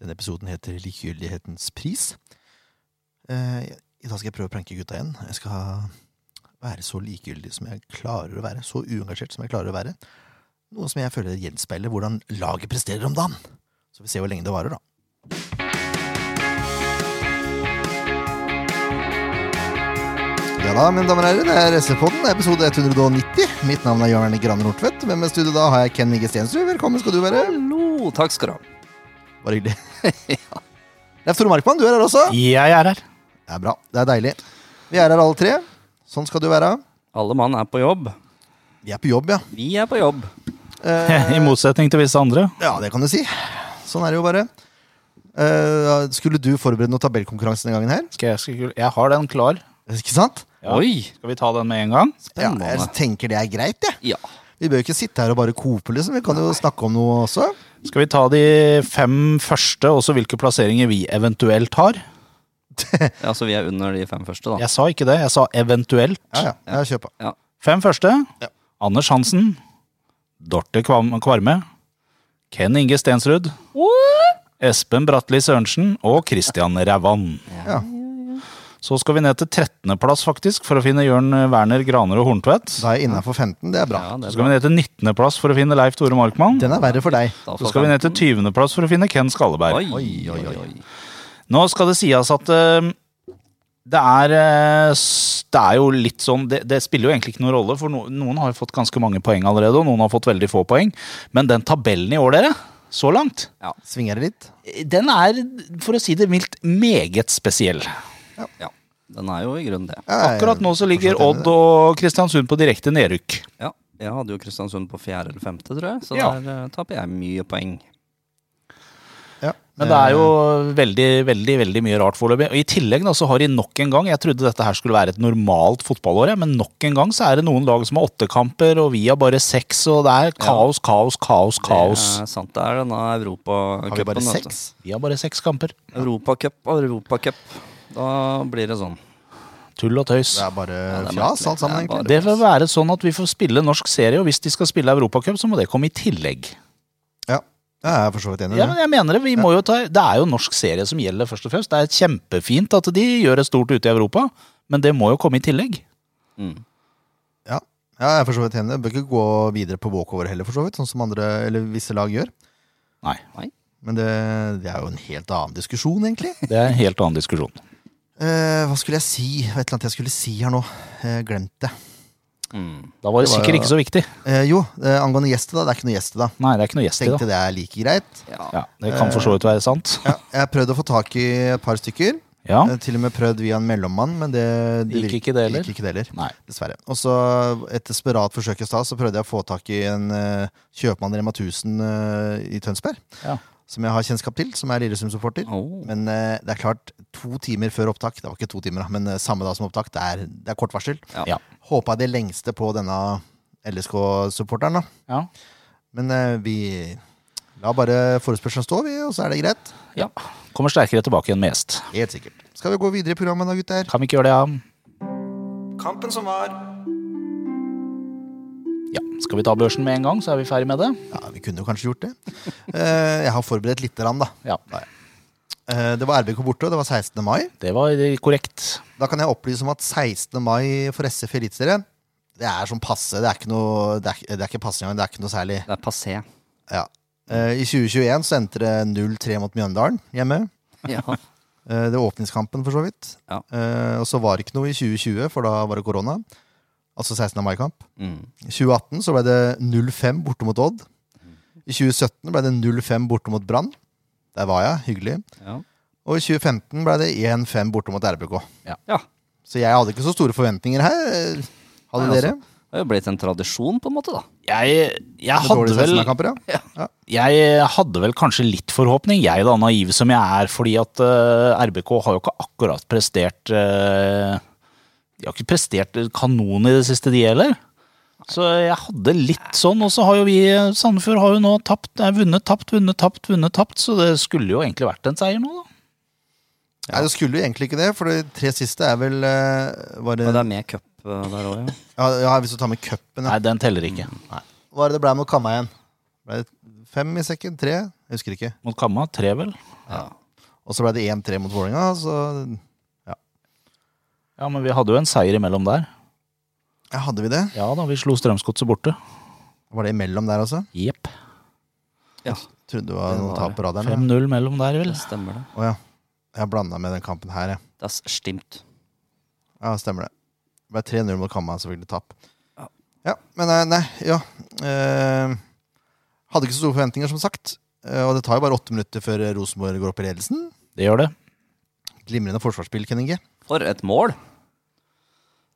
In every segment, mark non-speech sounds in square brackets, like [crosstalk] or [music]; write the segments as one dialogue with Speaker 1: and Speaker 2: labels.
Speaker 1: Denne episoden heter Likegyldighetens pris. Eh, I dag skal jeg prøve å pranke gutta igjen. Jeg skal være så likegyldig som jeg klarer å være. Så uengasjert som jeg klarer å være. Noe som jeg føler gjenspeiler hvordan laget presterer om dagen. Så vi ser hvor lenge det varer, da. Ja da, mine damer og herrer, det er SV-podden, episode 190. Mitt navn er Jørn Erne Gran Nordtvedt. Med meg i studio da har jeg Ken Vigge Stensrud. Velkommen skal du være.
Speaker 2: Hallo, takk skal du ha.
Speaker 1: Bare hyggelig. [laughs] Leif Tore Markmann, du er her også.
Speaker 3: Jeg er her. [laughs]
Speaker 1: Det er bra. Det er deilig. Vi er her alle tre. Sånn skal du være.
Speaker 2: Alle mann er på jobb.
Speaker 1: Vi er på jobb, ja.
Speaker 2: Vi er på jobb.
Speaker 3: I motsetning til visse andre.
Speaker 1: Ja, det kan du si. Sånn er det jo bare. Eh, skulle du forberede noen tabellkonkurranse denne gangen her?
Speaker 3: Skal jeg, skal, jeg har den klar.
Speaker 1: Ikke sant?
Speaker 3: Ja.
Speaker 2: Oi!
Speaker 3: Skal vi ta den med en gang?
Speaker 1: Ja,
Speaker 2: Spennende.
Speaker 1: jeg tenker det er greit, jeg.
Speaker 2: Ja.
Speaker 1: Vi bør jo ikke sitte her og bare kope, liksom. Vi kan jo snakke om noe også.
Speaker 3: Skal vi ta de fem første, og så hvilke plasseringer vi eventuelt har?
Speaker 2: ja, så vi er under de fem første, da.
Speaker 3: Jeg sa ikke det, jeg sa eventuelt.
Speaker 1: Ja, ja. ja kjør på.
Speaker 3: Fem første.
Speaker 1: Ja.
Speaker 3: Anders Hansen. Dorte Kvam- Kvarme. Ken Inge Stensrud. Espen Bratli Sørensen og Christian Rævan.
Speaker 1: Ja.
Speaker 3: Så skal vi ned til 13.-plass, faktisk, for å finne Jørn Werner Graner og Horntvedt.
Speaker 1: Da er jeg innafor 15. Det er bra.
Speaker 2: Ja, det er
Speaker 3: Så skal
Speaker 2: bra.
Speaker 3: vi ned til 19.-plass for å finne Leif Tore Markmann.
Speaker 1: Den er verre for deg.
Speaker 2: Da
Speaker 3: Så skal vi ned til 20.-plass for å finne Ken Skalleberg.
Speaker 2: Oi, oi, oi. oi.
Speaker 3: Nå skal det sies at eh, det er, eh, s- det er jo litt sånn det, det spiller jo egentlig ikke noen rolle, for no, noen har jo fått ganske mange poeng allerede, og noen har fått veldig få poeng. Men den tabellen i år, dere, så langt,
Speaker 1: Svinger det litt?
Speaker 3: den er, for å si det mildt, meget spesiell.
Speaker 2: Ja. Den er jo i grunnen det.
Speaker 1: Ja, jeg-
Speaker 3: Akkurat nå så ligger
Speaker 1: forstått enig i
Speaker 3: Odd
Speaker 1: det.
Speaker 3: og Kristiansund på direkte nedrykk.
Speaker 2: Ja. Jeg hadde jo Kristiansund på fjerde eller femte, tror jeg, så
Speaker 3: Ja.
Speaker 2: der eh, taper jeg mye poeng.
Speaker 1: Ja.
Speaker 3: Men det er jo veldig, veldig veldig mye rart foreløpig. Og I tillegg da, så har de nok en gang Jeg trodde dette her skulle være et normalt fotballår, jeg, men nok en gang så er det noen lag som har åtte kamper, og vi har bare seks, og det er kaos, kaos, kaos, kaos.
Speaker 2: Det er Eh, sant. Det er denne
Speaker 1: Har vi bare
Speaker 2: Europacupen. vet du.
Speaker 1: seks?
Speaker 3: Vi har bare seks kamper.
Speaker 2: Europacup, Europacup. Da blir det sånn.
Speaker 3: Tull og tøys.
Speaker 1: Det er bare
Speaker 2: det er
Speaker 1: fjas, alt sammen,
Speaker 2: merkelig.
Speaker 1: egentlig.
Speaker 3: Det vil være sånn at vi får spille norsk serie, og hvis de skal spille Europacup, så må det komme i tillegg.
Speaker 1: Ja, jeg er for så vidt enig i
Speaker 3: Ja,
Speaker 1: det.
Speaker 3: men jeg mener Det vi må jo ta, det er jo norsk serie som gjelder, først og fremst. Det er kjempefint at de gjør et stort ute i Europa, men det må jo komme i tillegg.
Speaker 2: Mm.
Speaker 1: Ja. ja, jeg er for så vidt enig. Det Bør ikke gå videre på walkover heller, for så vidt, sånn som andre, eller visse lag gjør.
Speaker 3: Nei.
Speaker 1: Men det, det er jo en helt annen diskusjon,
Speaker 3: [laughs]
Speaker 1: egentlig.
Speaker 3: Det er en helt annen diskusjon.
Speaker 1: Eh, hva skulle jeg si? Det var Et eller annet jeg skulle si her nå. Eh, glemt det.
Speaker 2: Mm.
Speaker 3: Da var det,
Speaker 1: Det var-
Speaker 3: sikkert ikke så viktig.
Speaker 1: Eh, jo, eh, angående gjeste, da. Det er ikke noe gjeste, da.
Speaker 3: Nei, det er ikke noe gjest i
Speaker 1: Tenkte
Speaker 3: det.
Speaker 1: det er like greit.
Speaker 2: Ja.
Speaker 3: Ja, det kan for så vidt være sant.
Speaker 1: Ja, jeg har prøvd å få tak i et par stykker.
Speaker 3: Ja.
Speaker 1: Eh, Til og med prøvd via en mellommann, men det, det
Speaker 3: Gikk
Speaker 1: virk-
Speaker 3: ikke det heller?
Speaker 1: Gikk ikke det heller.
Speaker 3: Nei.
Speaker 1: Dessverre. Og så, et desperat forsøk i stad, så prøvde jeg å få tak i en eh, kjøpmann i Rema 1000 eh, i Tønsberg.
Speaker 3: Ja.
Speaker 1: Som jeg har kjennskap til, som er Lillesund-supporter.
Speaker 2: Oh.
Speaker 1: Men eh, det er klart, to timer før opptak, det var ikke to timer, da, men eh, samme dag som opptak, det er, det er kort varsel.
Speaker 2: Ja.
Speaker 3: Ja.
Speaker 1: Håpa det lengste på denne LSK-supporteren, da.
Speaker 3: Ja.
Speaker 1: Men eh, vi la bare forespørselen stå, vi, og så er det greit.
Speaker 3: ja. Kommer sterkere tilbake enn mest.
Speaker 1: Helt sikkert. Skal vi gå videre i programmet da, gutter?
Speaker 3: Kan vi ikke gjøre det, ja?
Speaker 4: Kampen som var.
Speaker 3: Ja. Skal vi ta børsen med en gang, så er vi ferdig med det?
Speaker 1: Ja, vi kunne jo kanskje gjort det. Eh, jeg har forberedt lite grann, da.
Speaker 3: Ja.
Speaker 1: Eh, det var RBK borte, og det var 16. mai.
Speaker 3: Det var korrekt.
Speaker 1: Da kan jeg opplyse om at 16. mai for SF i Eliteserien, det er sånn passe. Det er ikke noe, det er, ikke- det er ikke passe engang, det er ikke noe særlig.
Speaker 2: Det er passé.
Speaker 1: Ja. Eh, I 2021 så endte det 0-3 mot Mjøndalen hjemme.
Speaker 2: Ja.
Speaker 1: Eh, det var åpningskampen, for så vidt.
Speaker 2: Ja.
Speaker 1: Eh, og så var det ikke noe i 2020, for da var det korona. Altså 16. mai-kamp.
Speaker 2: Mm.
Speaker 1: I 2018 så ble det 0-5 borte mot Odd. I 2017 ble det 0-5 borte mot Brann. Der var jeg, hyggelig.
Speaker 2: Ja.
Speaker 1: Og i 2015 ble det 1-5 borte mot RBK.
Speaker 2: ja.
Speaker 1: Så jeg hadde ikke så store forventninger her. Hadde
Speaker 2: Nei,
Speaker 1: dere?
Speaker 2: altså, Det har jo blitt en tradisjon, på en måte, da.
Speaker 3: Jeg, jeg
Speaker 1: Med
Speaker 3: hadde
Speaker 1: dårlige
Speaker 3: vel
Speaker 1: 16-kamper, ja.
Speaker 3: jeg eh, hadde vel kanskje litt forhåpning, jeg da, naiv som jeg er, fordi at eh, RBK har jo ikke akkurat prestert eh, De har ikke prestert kanon i det siste, de heller. Så jeg hadde litt sånn, og så har jo vi Sandefjord har jo nå tapt, er vunnet, tapt, vunnet, tapt, vunnet, tapt, så det skulle jo egentlig vært en seier nå, da.
Speaker 1: Nei, det skulle jo egentlig ikke det, for de tre siste er vel eh, var det,
Speaker 2: Men det er med cup eh, der òg, ja.
Speaker 1: ja, ja, Hvis du tar med cupen, ja.
Speaker 3: Nei, den teller ikke. Mm, Nei.
Speaker 1: Hva er det det ble mot Kamma igjen? Ble det fem i sekken? Tre? Jeg husker ikke.
Speaker 3: Mot Kamma, tre vel?
Speaker 2: Ja.
Speaker 1: Og så ble det 1-3 mot Vålerenga, så
Speaker 3: Ja, men vi hadde jo en seier imellom der.
Speaker 1: ja, hadde vi det.
Speaker 3: Ja da, vi slo Strømsgodset borte.
Speaker 1: Var det imellom der også?
Speaker 3: Jepp.
Speaker 2: ja,
Speaker 1: Trodde det var
Speaker 2: Det
Speaker 1: noen
Speaker 2: var
Speaker 1: tap på radaren.
Speaker 3: 5-0 mellom der, vel.
Speaker 2: det stemmer det.
Speaker 1: Å ja. Jeg blanda med den kampen her, jeg.
Speaker 2: Das stimmt.
Speaker 1: Ja, stemmer det. Det ble 3-0 mot Kamma, selvfølgelig tap.
Speaker 2: Ja.
Speaker 1: Ja, men nei, nei ja. Eh, hadde ikke så store forventninger, som sagt. Eh, og det tar jo bare åtte minutter før Rosenborg går opp i ledelsen.
Speaker 3: Det gjør det.
Speaker 1: Glimrende forsvarsspill, Kenninge.
Speaker 2: For et mål! Ja,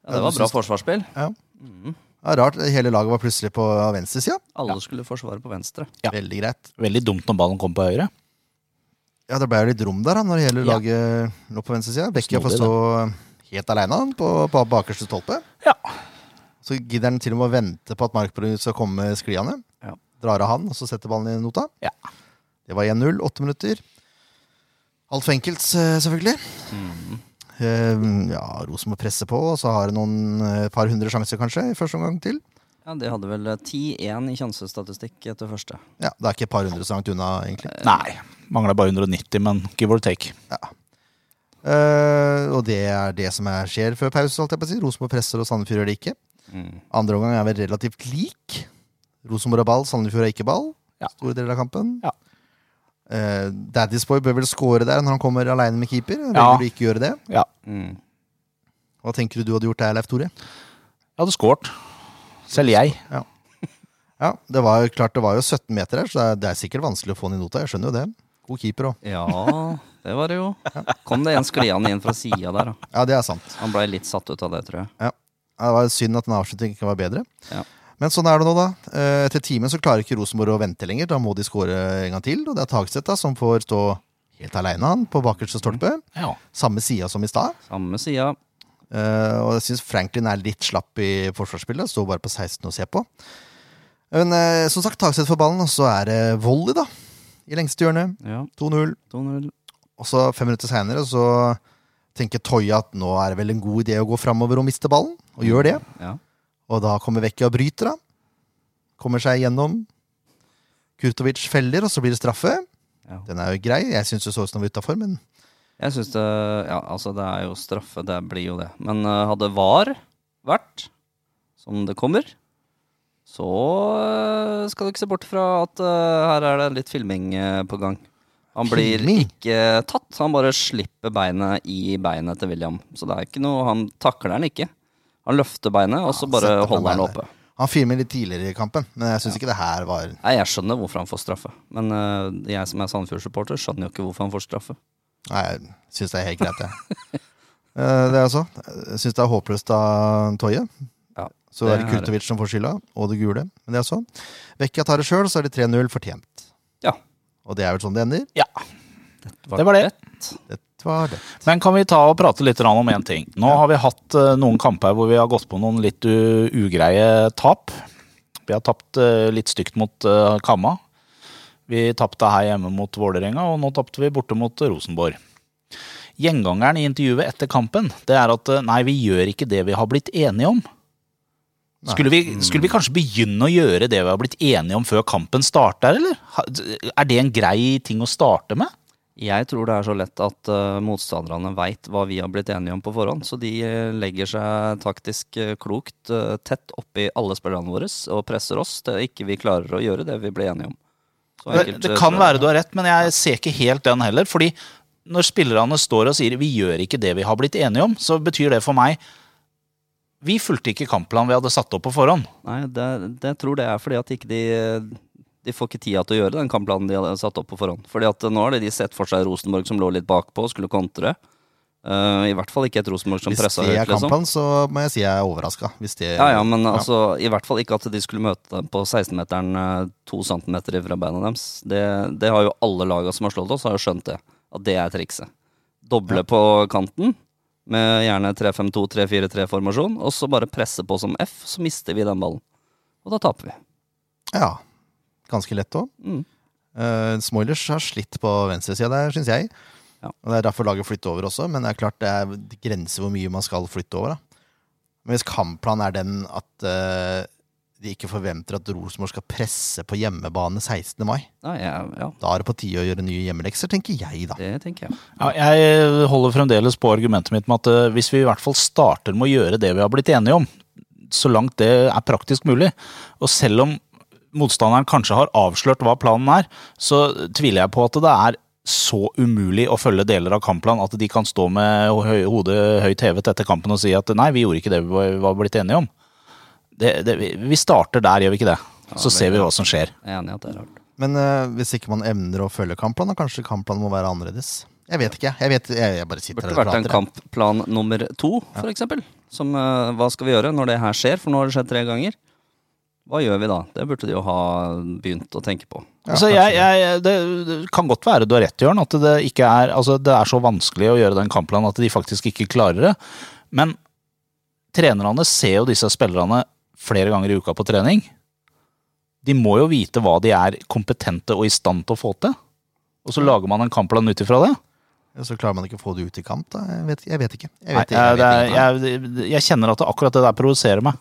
Speaker 1: Ja,
Speaker 2: det
Speaker 1: du
Speaker 2: var bra
Speaker 1: syns-
Speaker 2: forsvarsspill.
Speaker 1: Ja.
Speaker 3: Mm.
Speaker 2: Mhm.
Speaker 1: Ja, rart, hele laget var plutselig på venstresida.
Speaker 2: Alle skulle forsvare på venstre.
Speaker 3: Ja.
Speaker 1: Veldig greit.
Speaker 3: Veldig dumt når ballen kom på høyre.
Speaker 1: Ja, det ble jo litt rom der da, når hele
Speaker 3: Ja.
Speaker 1: laget lå på venstresida. Bekke får
Speaker 3: Snodig,
Speaker 1: stå helt aleine på, på bakerste stolpe.
Speaker 3: Ja.
Speaker 1: Så gidder han til og med å vente på at Markbrun skal komme skliende.
Speaker 2: Ja.
Speaker 1: Drar av han, og så setter ballen i nota.
Speaker 3: Ja.
Speaker 1: Det var 1-0, åtte minutter. Alf Enkels, eh, selvfølgelig. Eh, Ja, Rosenborg presser på, og så har de noen eh, par hundre sjanser, kanskje, i første omgang til.
Speaker 2: Ja, De hadde vel eh, 10-1 i sjansestatistikk etter første.
Speaker 1: Ja, Det er ikke et par hundre så langt unna, egentlig.
Speaker 3: Nei. Mangla bare 190, men give or take.
Speaker 1: Eh, og det er det som er, skjer før pause. holdt jeg på å si. Rosenborg presser, og Sandefjord gjør det ikke.
Speaker 2: Mm.
Speaker 1: Andre omgang er vel relativt lik. Rosenborg har ball, Sandefjord har ikke ball.
Speaker 3: Ja.
Speaker 1: Store deler av kampen.
Speaker 3: Ja.
Speaker 1: Eh, Daddy's Boy bør vel score der når han kommer aleine med keeper. Velger
Speaker 3: Ja.
Speaker 1: du ikke å gjøre det?
Speaker 3: Ja.
Speaker 2: Mm.
Speaker 1: Hva tenker du du hadde gjort der, Leif Tore?
Speaker 3: Jeg hadde scoret. Selv jeg.
Speaker 1: Ja, det var jo klart det var jo 17 meter her, så det er, det er sikkert vanskelig å få den i nota. Jeg skjønner jo det. God keeper òg.
Speaker 2: Ja, [laughs] det var det jo. Kom det en skliende inn fra sida der, da.
Speaker 1: Ja, det er sant.
Speaker 2: Han blei litt satt ut av det, tror jeg.
Speaker 1: Ja, Det var synd at den avslutningen ikke var bedre.
Speaker 2: Ja.
Speaker 1: Men sånn er det nå, da. Eh, Etter timen så klarer ikke Rosenborg å vente lenger. Da må de skåre en gang til. Og det er Tagstedt da, som får stå helt aleine, han, på bakerste stolpe.
Speaker 3: Ja.
Speaker 1: Samme sida som i stad.
Speaker 2: Samme sida.
Speaker 1: Eh, og jeg syns Franklin er litt slapp i forsvarsspillet. Står bare på 16 og ser på. Men eh, som sagt, Tagstedt for ballen, og så er det volley, da. I lengste hjørne.
Speaker 2: Ja,
Speaker 1: 2-0.
Speaker 2: 2-0.
Speaker 1: Og så fem minutter seinere så tenker Toya at nå er det vel en god idé å gå framover og miste ballen. Og gjør det.
Speaker 2: Ja.
Speaker 1: Og da kommer Vecchia og bryter, da. Kommer seg gjennom. Kurtovic feller, og så blir det straffe.
Speaker 2: Ja.
Speaker 1: Den er jo grei. Jeg syns det så ut som den var utafor, men
Speaker 2: Jeg syns det Ja, altså, det er jo straffe. Det blir jo det. Men eh, hadde VAR vært som det kommer, så eh, skal du ikke se bort fra at eh, her er det litt filming eh, på gang. Han blir
Speaker 1: Filming?
Speaker 2: ikke tatt. Han bare slipper beinet i beinet til William. Så det er ikke noe Han takler den ikke. Han løfter beinet, og så
Speaker 1: han
Speaker 2: bare
Speaker 1: setter på
Speaker 2: holder han
Speaker 1: beinet.
Speaker 2: oppe.
Speaker 1: han filmer litt tidligere i kampen. Men jeg syns ikke det her var
Speaker 2: Nei, jeg skjønner hvorfor han får straffe. Men eh, jeg som er Sandefjord-supporter, skjønner jo ikke hvorfor han får straffe.
Speaker 1: Nei, jeg syns det er helt greit, jeg. [laughs] Eh, det er altså. Jeg syns det er håpløst av Toye.
Speaker 2: Ja,
Speaker 1: Så er det
Speaker 2: det er det.
Speaker 1: Kurtovic som får skylda, og det gule. Men det er sånn. Vecchia tar det sjøl, så er det 3-0 fortjent.
Speaker 2: Ja.
Speaker 1: Og det er vel sånn det ender.
Speaker 3: ja. Det var det.
Speaker 1: Det var det.
Speaker 3: Men kan vi ta og prate litt grann om én ting? Nå har vi hatt eh, noen kamper hvor vi har gått på noen litt u- ugreie tap. Vi har tapt eh, litt stygt mot eh, Kamma. Vi tapte her hjemme mot Vålerenga, og nå tapte vi borte mot Rosenborg. Gjengangeren i intervjuet etter kampen det er at eh, nei, vi gjør ikke det vi har blitt enige om.
Speaker 1: Nei.
Speaker 3: Skulle vi, skulle vi kanskje begynne å gjøre det vi har blitt enige om før kampen starter, eller? Ha- Er det en grei ting å starte med?
Speaker 2: Jeg tror det er så lett at eh, motstanderne veit hva vi har blitt enige om på forhånd, så de eh, legger seg taktisk eh, klokt eh, tett oppi alle spillerne våre og presser oss til ikke vi klarer å gjøre det vi ble enige om. Så
Speaker 3: Det,
Speaker 2: enkelt, eh,
Speaker 3: det kan
Speaker 2: tror jeg
Speaker 3: være du har rett, men jeg ser ikke helt den heller. Fordi når spillerne står og sier 'vi gjør ikke det vi har blitt enige om', så betyr det for meg Vi fulgte ikke kampplanen vi hadde satt opp på forhånd.
Speaker 2: Nei, det, det tror det er fordi at ikke de de får ikke tida til å gjøre den kampplanen de hadde satt opp på forhånd. Fordi at eh, nå har de- de sett for seg Rosenborg som lå litt bakpå og skulle kontre. Eh, I hvert fall ikke et Rosenborg som
Speaker 1: Hvis
Speaker 2: pressa
Speaker 1: det
Speaker 2: høyt,
Speaker 1: er
Speaker 2: liksom.
Speaker 1: kampen, så må jeg si jeg er overraska. Hvis det
Speaker 2: Ja, ja, men altså, i hvert fall ikke at de skulle møte dem på 16-meteren eh, to centimeter fra beina deres. Det, det har jo alle laga som har slått oss, har jo skjønt det. At det er trikset. Doble på kanten, med gjerne 3-5-2-3-4-3-formasjon, og så bare presse på som F, så mister vi den ballen. Og da taper vi.
Speaker 1: ja. Ganske lett òg.
Speaker 2: Mm.
Speaker 1: Uh, Smoilers har slitt på venstresida der, syns jeg.
Speaker 2: Ja.
Speaker 1: Og Det er derfor laget flytter over også, men det er klart det er det grenser hvor mye man skal flytte over. da. Men hvis kampplanen er den at eh, de ikke forventer at Rosenborg skal presse på hjemmebane 16. mai.
Speaker 2: Ja, jeg, ja,
Speaker 1: Da er det på tide å gjøre nye hjemmelekser, tenker jeg, da.
Speaker 2: det tenker jeg.
Speaker 3: Ja, jeg holder fremdeles på argumentet mitt med at eh, hvis vi i hvert fall starter med å gjøre det vi har blitt enige om, så langt det er praktisk mulig, og selv om motstanderen kanskje har avslørt hva planen er, så tviler jeg på at det er så umulig å følge deler av kampplanen at de kan stå med høy, hodet høyt hevet etter kampen og si at nei, vi gjorde ikke det vi var- var blitt enige om. Det, det, vi- vi starter der, gjør vi ikke det? Så ser vi hva som skjer.
Speaker 2: Jeg er enig i at det er rart.
Speaker 1: Men eh, hvis ikke man evner å følge kampplanen, kanskje kampplanen må være annerledes. Jeg vet ikke, jeg. jeg. Vet, jeg, jeg bare sitter
Speaker 2: Burde
Speaker 1: her
Speaker 2: det
Speaker 1: og
Speaker 2: vært en
Speaker 1: prater, jeg.
Speaker 2: kampplan nummer to, for eksempel? Som eh, hva skal vi gjøre når det her skjer, for nå har det skjedd tre ganger. Hva gjør vi da? Det burde de jo ha begynt å tenke på.
Speaker 1: Ja,
Speaker 3: altså,
Speaker 1: kanskje
Speaker 3: jeg, jeg, det, det kan godt være du har rett, Jørn, at det, ikke er, altså, det er så vanskelig å gjøre den kampplanen at de faktisk ikke klarer det. Men trenerne ser jo disse spillerne flere ganger i uka på trening. De må jo vite hva de er kompetente og i stand til å få til. Og så lager man en kampplan ut ifra det.
Speaker 1: Ja, Så klarer man ikke å få det ut i kamp, da? Jeg vet, jeg vet ikke. Jeg
Speaker 3: Nei,
Speaker 1: vet, jeg,
Speaker 3: det
Speaker 1: vet
Speaker 3: er,
Speaker 1: ingenting.
Speaker 3: jeg, jeg kjenner at det, akkurat det der provoserer meg.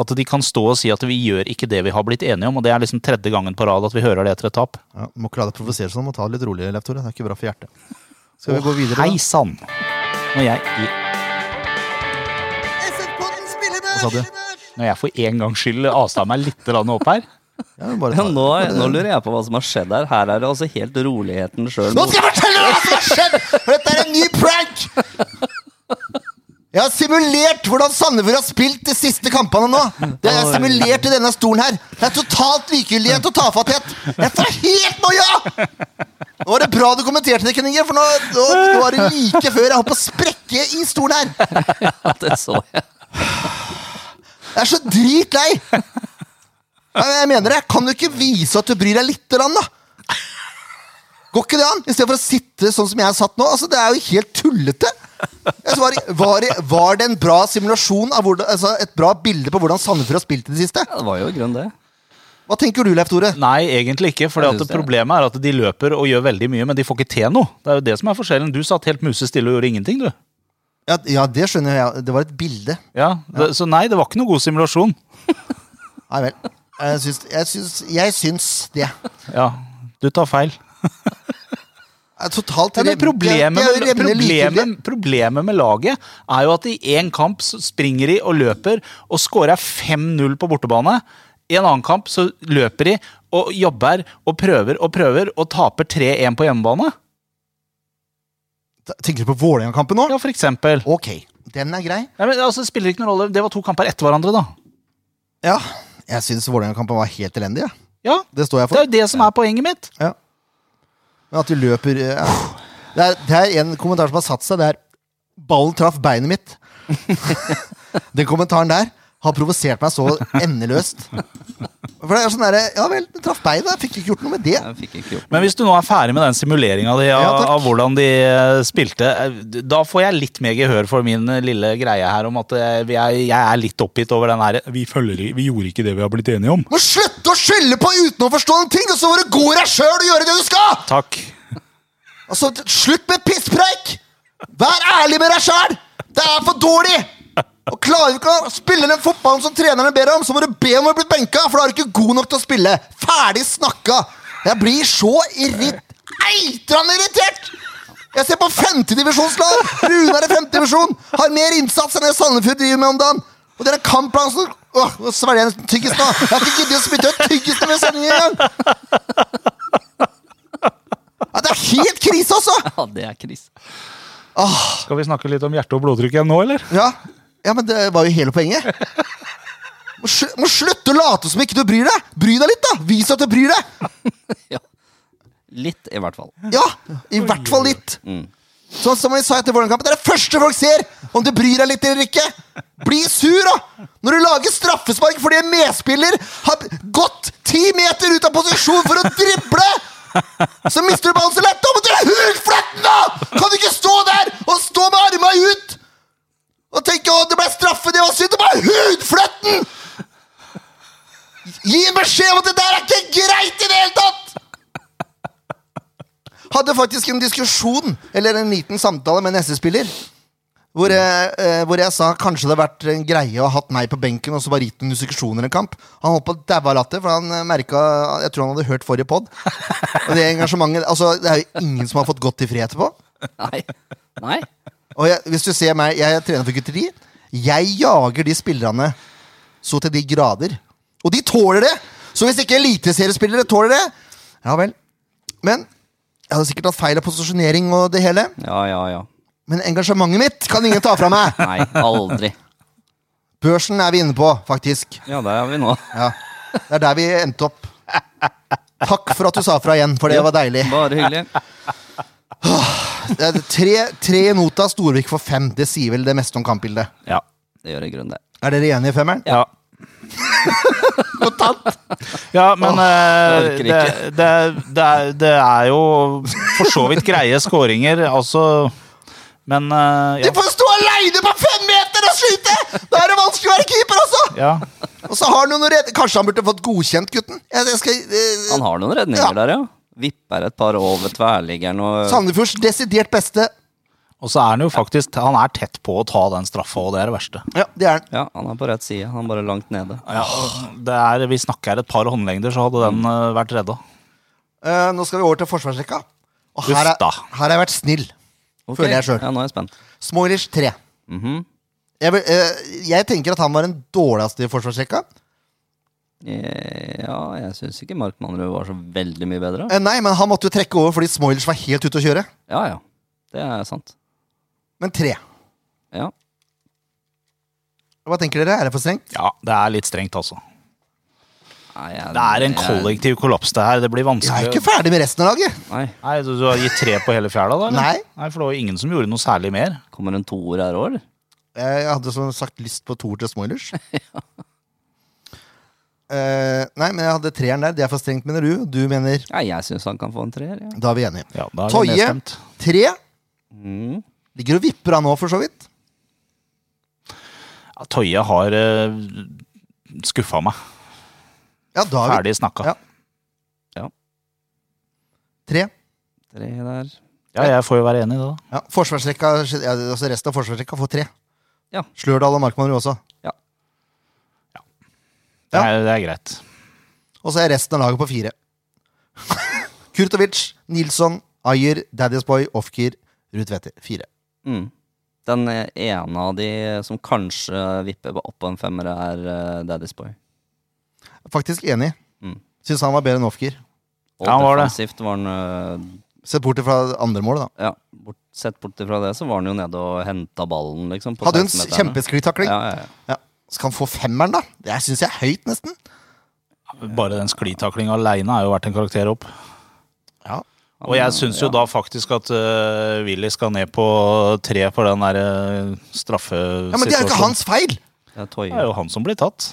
Speaker 3: At de kan stå og si at vi gjør ikke det vi har blitt enige om, og det er liksom tredje gangen på rad at vi hører det etter et tap.
Speaker 1: ja, må ikke la deg provosere sånn, må ta det litt rolig, Leif Tore. Det er ikke bra for hjertet. Skal vi
Speaker 3: Å,
Speaker 1: gå videre?
Speaker 3: Hei
Speaker 1: da?
Speaker 3: sann! Når jeg,
Speaker 1: Hva sa du?
Speaker 3: når jeg for en gangs skyld avsta meg litt grann opp her
Speaker 1: Ja, men bare
Speaker 2: Ja,
Speaker 1: ta det.
Speaker 2: nå, nå lurer jeg på hva som har skjedd her. Her er det altså helt roligheten sjøl.
Speaker 1: Nå skal jeg fortelle deg hva som har skjedd! For dette er en ny prank! Jeg har simulert hvordan Sandefjord har spilt de siste kampene nå. Det er simulert i denne stolen her. Det er totalt likegyldighet og tafatthet. Jeg får helt noia! Nå var det bra du kommenterte det, Kenninger, for nå, nå, nå er det like før jeg holdt på å sprekke i stolen her.
Speaker 2: Ja, det så jeg.
Speaker 1: Jeg er så dritlei! Nei, men Jeg mener det. Kan du ikke vise at du bryr deg lite grann, da? Går ikke det an? Istedenfor å sitte sånn som jeg satt nå. Altså, Det er jo helt tullete! Jeg svarer, var, det- var det en bra simulasjon av hvordan, altså, et bra bilde på hvordan Sandefjord har spilt i det siste?
Speaker 2: Ja, det var jo i grunnen det.
Speaker 1: Hva tenker du, Leif Tore?
Speaker 3: Nei, egentlig ikke. For
Speaker 2: Jeg synes det.
Speaker 3: problemet er at de løper og gjør veldig mye, men de får ikke til noe. Det er jo det som er forskjellen. Du satt helt musestille og gjorde ingenting, du.
Speaker 1: Ja, ja, det skjønner jeg. Det var et bilde.
Speaker 3: Ja, det, Så nei, det var ikke noe god simulasjon.
Speaker 1: Nei vel. Jeg syns, jeg syns, jeg syns det.
Speaker 3: Ja, du tar feil.
Speaker 1: Det er Totalt
Speaker 3: Ja, men
Speaker 1: rem-
Speaker 3: problemet,
Speaker 1: det er
Speaker 3: med,
Speaker 1: remmende likegyldig.
Speaker 3: problemet, problemet med laget er jo at i én kamp så springer de og løper og scorer 5-0 på bortebane. I en annen kamp så løper de og jobber og prøver og prøver og taper 3-1 på hjemmebane.
Speaker 1: Tenker du på Vålerenga-kampen nå?
Speaker 3: Ja, for eksempel.
Speaker 1: Ok, den er grei.
Speaker 3: Nei, men altså, det spiller ikke noen rolle. Det var to kamper etter hverandre, da.
Speaker 1: Ja, jeg syns Vålerenga-kampen var helt elendig. Ja.
Speaker 3: Ja,
Speaker 1: Det står jeg
Speaker 3: Det
Speaker 1: for.
Speaker 3: er jo det som er poenget mitt.
Speaker 1: Ja. Men at vi løper eh, ja. det, er, det er en kommentar som har satt seg. Det er 'ballen traff beinet mitt'. [laughs] Den kommentaren der har provosert meg så endeløst. For det er sånn derre Ja vel, den traff beinet. jeg Fikk ikke gjort noe med det.
Speaker 2: Jeg fikk ikke gjort
Speaker 3: Men hvis du nå er ferdig med den simuleringa di av,
Speaker 1: Ja, takk.
Speaker 3: av hvordan de eh, spilte, eh, da får jeg litt mer gehør for min eh, lille greie her om at eh, vi er- jeg er litt oppgitt over den her vi, følger- vi gjorde ikke det vi har blitt enige om.
Speaker 1: Må slutte å skylde på uten å forstå noen ting, og så må du gå deg sjøl og gjøre det du skal!
Speaker 3: Takk.
Speaker 1: Altså, t- slutt med pisspreik! Vær ærlig med deg sjæl! Det er for dårlig! Og Klarer du ikke å spille den fotballen som trenerne ber om, så må du be om å bli benka, for da er du ikke god nok til å spille. Ferdig snakka! Jeg blir så irrit... eitrende irritert! Jeg ser på femtedivisjonslag! Runar i femtedivisjon har mer innsats enn det Sandefjord driver med om dagen. Og det er en kampplan som Åh, nå svelger jeg en tyggis nå! Jeg har ikke giddet å spytte ut tyggisen med sendingen engang! Ja, det er helt krise, altså!
Speaker 2: Ja, det er krise. [laughs]
Speaker 3: Skal vi snakke litt om hjerte- og blodtrykk igjen nå, eller?
Speaker 1: Ja, ja men det var jo hele poenget. Må, sl må slutte å late som ikke du bryr deg! Bry deg litt, da! Vis at du bryr deg!
Speaker 2: Ja. Litt, i hvert fall.
Speaker 1: Ja, I hvert fall litt. Sånn som vi sa etter Vålerenga-kampen. Det er det første folk ser! Om du bryr deg litt eller ikke. Bli sur, da! Når du lager straffespark fordi en medspiller har gått ti meter ut av posisjon for å drible! Så mister du ballen så lett! Da må du hule fletten, da! Kan du ikke stå der og stå med armene ut og tenke 'Å, det ble straffe, det var synd'? Det var hudfletten! Gi en beskjed om at det der er ikke greit i det hele tatt! Hadde faktisk en diskusjon, eller en liten samtale med en SS-spiller. Hvor jeg, eh, hvor jeg sa kanskje det hadde vært en greie å ha hatt meg på benken og så bare gitt en disseksjon eller en kamp. Han holdt på å daue av latter, for han eh, merket Jeg tror han hadde hørt forrige pod. Og det engasjementet Altså, det er jo ingen som har fått godt i fred etterpå.
Speaker 2: Nei. Nei.
Speaker 1: Og jeg, hvis du ser meg, jeg trener for gutteri. Jeg jager de spillerne så til de grader. Og de tåler det! Så hvis ikke eliteseriespillere tåler det, ja vel. Men jeg hadde sikkert tatt feil av posisjonering og det hele.
Speaker 2: Ja, ja, ja.
Speaker 1: Men engasjementet mitt kan ingen ta fra
Speaker 2: [laughs]
Speaker 1: meg!
Speaker 2: Nei, aldri.
Speaker 1: Børsen er vi inne på, faktisk.
Speaker 2: Ja, der er vi nå.
Speaker 1: Ja. Det er der vi endte opp. Takk for at du sa fra igjen, for det var deilig.
Speaker 2: [laughs] Bare hyggelig.
Speaker 1: Det er tre, tre i nota, Storvik for fem. Det sier vel det meste om kampbildet.
Speaker 3: Ja.
Speaker 2: Det gjør i grunnen det.
Speaker 1: Er dere enige i femmeren?
Speaker 3: Ja. Ja, men eh,
Speaker 2: jeg orker
Speaker 3: det,
Speaker 2: ikke.
Speaker 3: det, det, er, det er jo for så vidt greie skåringer, altså Men eh,
Speaker 1: Du får stå aleine på fem meter og skyte! Da er det vanskelig å være keeper, altså!
Speaker 3: ja, ja.
Speaker 1: Og så har han jo noe redd... Kanskje han burde fått godkjent gutten? Jeg, jeg skal, eh,
Speaker 2: Han har noen redninger der, ja. Vipper et par over tverrliggeren og
Speaker 1: Sandefjords desidert beste.
Speaker 3: Og så er han jo faktisk Han er tett på å ta den straffa, og det er det verste.
Speaker 1: Ja, det er han.
Speaker 2: Ja, han er på rett side. Han er bare langt nede.
Speaker 3: Ja, og det er, vi snakker et par håndlengder, så hadde
Speaker 1: Mm.
Speaker 3: den eh, vært redda.
Speaker 1: Eh, nå skal vi over til forsvarsrekka. Og her,
Speaker 3: Uff
Speaker 1: er,
Speaker 3: da.
Speaker 1: her har jeg vært snill.
Speaker 2: Ok.
Speaker 1: Føler jeg selv.
Speaker 2: Ja, nå er jeg spent.
Speaker 1: Smoilish 3.
Speaker 2: Mhm.
Speaker 1: Jeg, vil, eh, jeg tenker at han var den dårligste i forsvarsrekka.
Speaker 2: Ja, jeg syns ikke Mark Mannerud var så veldig mye bedre.
Speaker 1: Eh, nei, men han måtte jo trekke over fordi Smoilish var helt ute å kjøre.
Speaker 2: Ja, ja. Det er sant.
Speaker 1: Men 3.
Speaker 2: Ja.
Speaker 1: Hva tenker dere? Er det for strengt?
Speaker 3: Ja, det er litt strengt, altså.
Speaker 2: Nei, jeg,
Speaker 3: Det er en
Speaker 2: jeg-
Speaker 3: kollektiv kollaps, det her. Det
Speaker 1: Jeg
Speaker 3: blir
Speaker 1: er
Speaker 3: vanskelig.
Speaker 1: ikke ferdig med resten av laget.
Speaker 2: Nei,
Speaker 3: Nei, du, du har gitt tre på hele fjæla, da? eller?
Speaker 1: Nei.
Speaker 3: Nei, For det var jo ingen som gjorde noe særlig mer.
Speaker 2: kommer en toer her òg, eller?
Speaker 1: Jeg hadde som sagt lyst på toer til
Speaker 2: [laughs]
Speaker 1: Smoilers. Eh, nei, men jeg hadde treeren der. Det er for strengt, mener du. Du mener
Speaker 2: Ja, jeg syns han kan få en treer. Ja.
Speaker 1: Da er vi enige.
Speaker 3: Ja, da er vi
Speaker 1: Toje,
Speaker 3: nedstemt.
Speaker 1: tre.
Speaker 2: Mm.
Speaker 1: Ligger og vipper av nå, for så vidt.
Speaker 3: Ja, Toje har uh, skuffa meg.
Speaker 1: Ja, da er vi
Speaker 3: Ferdig snakka.
Speaker 1: Ja.
Speaker 3: Ja.
Speaker 1: tre.
Speaker 2: Tre der.
Speaker 3: jeg får jo være enig i det, da.
Speaker 1: Ja, forsvarsrekka, ja, altså Resten av forsvarsrekka får tre.
Speaker 2: Ja.
Speaker 1: Slørdal og Markmann også. Ja.
Speaker 3: Det er, det er greit.
Speaker 1: Og så er resten av laget på fire. [laughs] Kurtovic, Nilsson, Ayer, Daddy's Boy, Ofkir, Ruud Tvedte. Fire.
Speaker 2: Mm. Den ene av de som kanskje vipper opp på en femmer, er eh, Daddy's Boy.
Speaker 1: Faktisk enig.
Speaker 2: Mm.
Speaker 1: Syns han var bedre enn Ofkir.
Speaker 2: Og
Speaker 3: Ja, han var det.
Speaker 2: defensivt var han eh,
Speaker 1: Sett bort fra andre målet, da.
Speaker 2: Ja, bort, sett bort ifra det, så var han jo nede og henta ballen, liksom. på
Speaker 1: Hadde en
Speaker 2: 16-meterne.
Speaker 1: kjempesklitakling.
Speaker 2: Ja, ja, ja.
Speaker 1: Ja. Skal han få femmeren, da? Det syns jeg er høyt, nesten.
Speaker 3: Bare den sklitaklinga aleine er jo verdt en karakter opp.
Speaker 1: Ja.
Speaker 3: Og jeg syns jo da faktisk at eh, Willy skal ned på tre på den der eh, straffesituasjonen.
Speaker 1: Men det er jo ikke hans feil!
Speaker 2: Det er Toye.
Speaker 3: Det er jo han som blir tatt.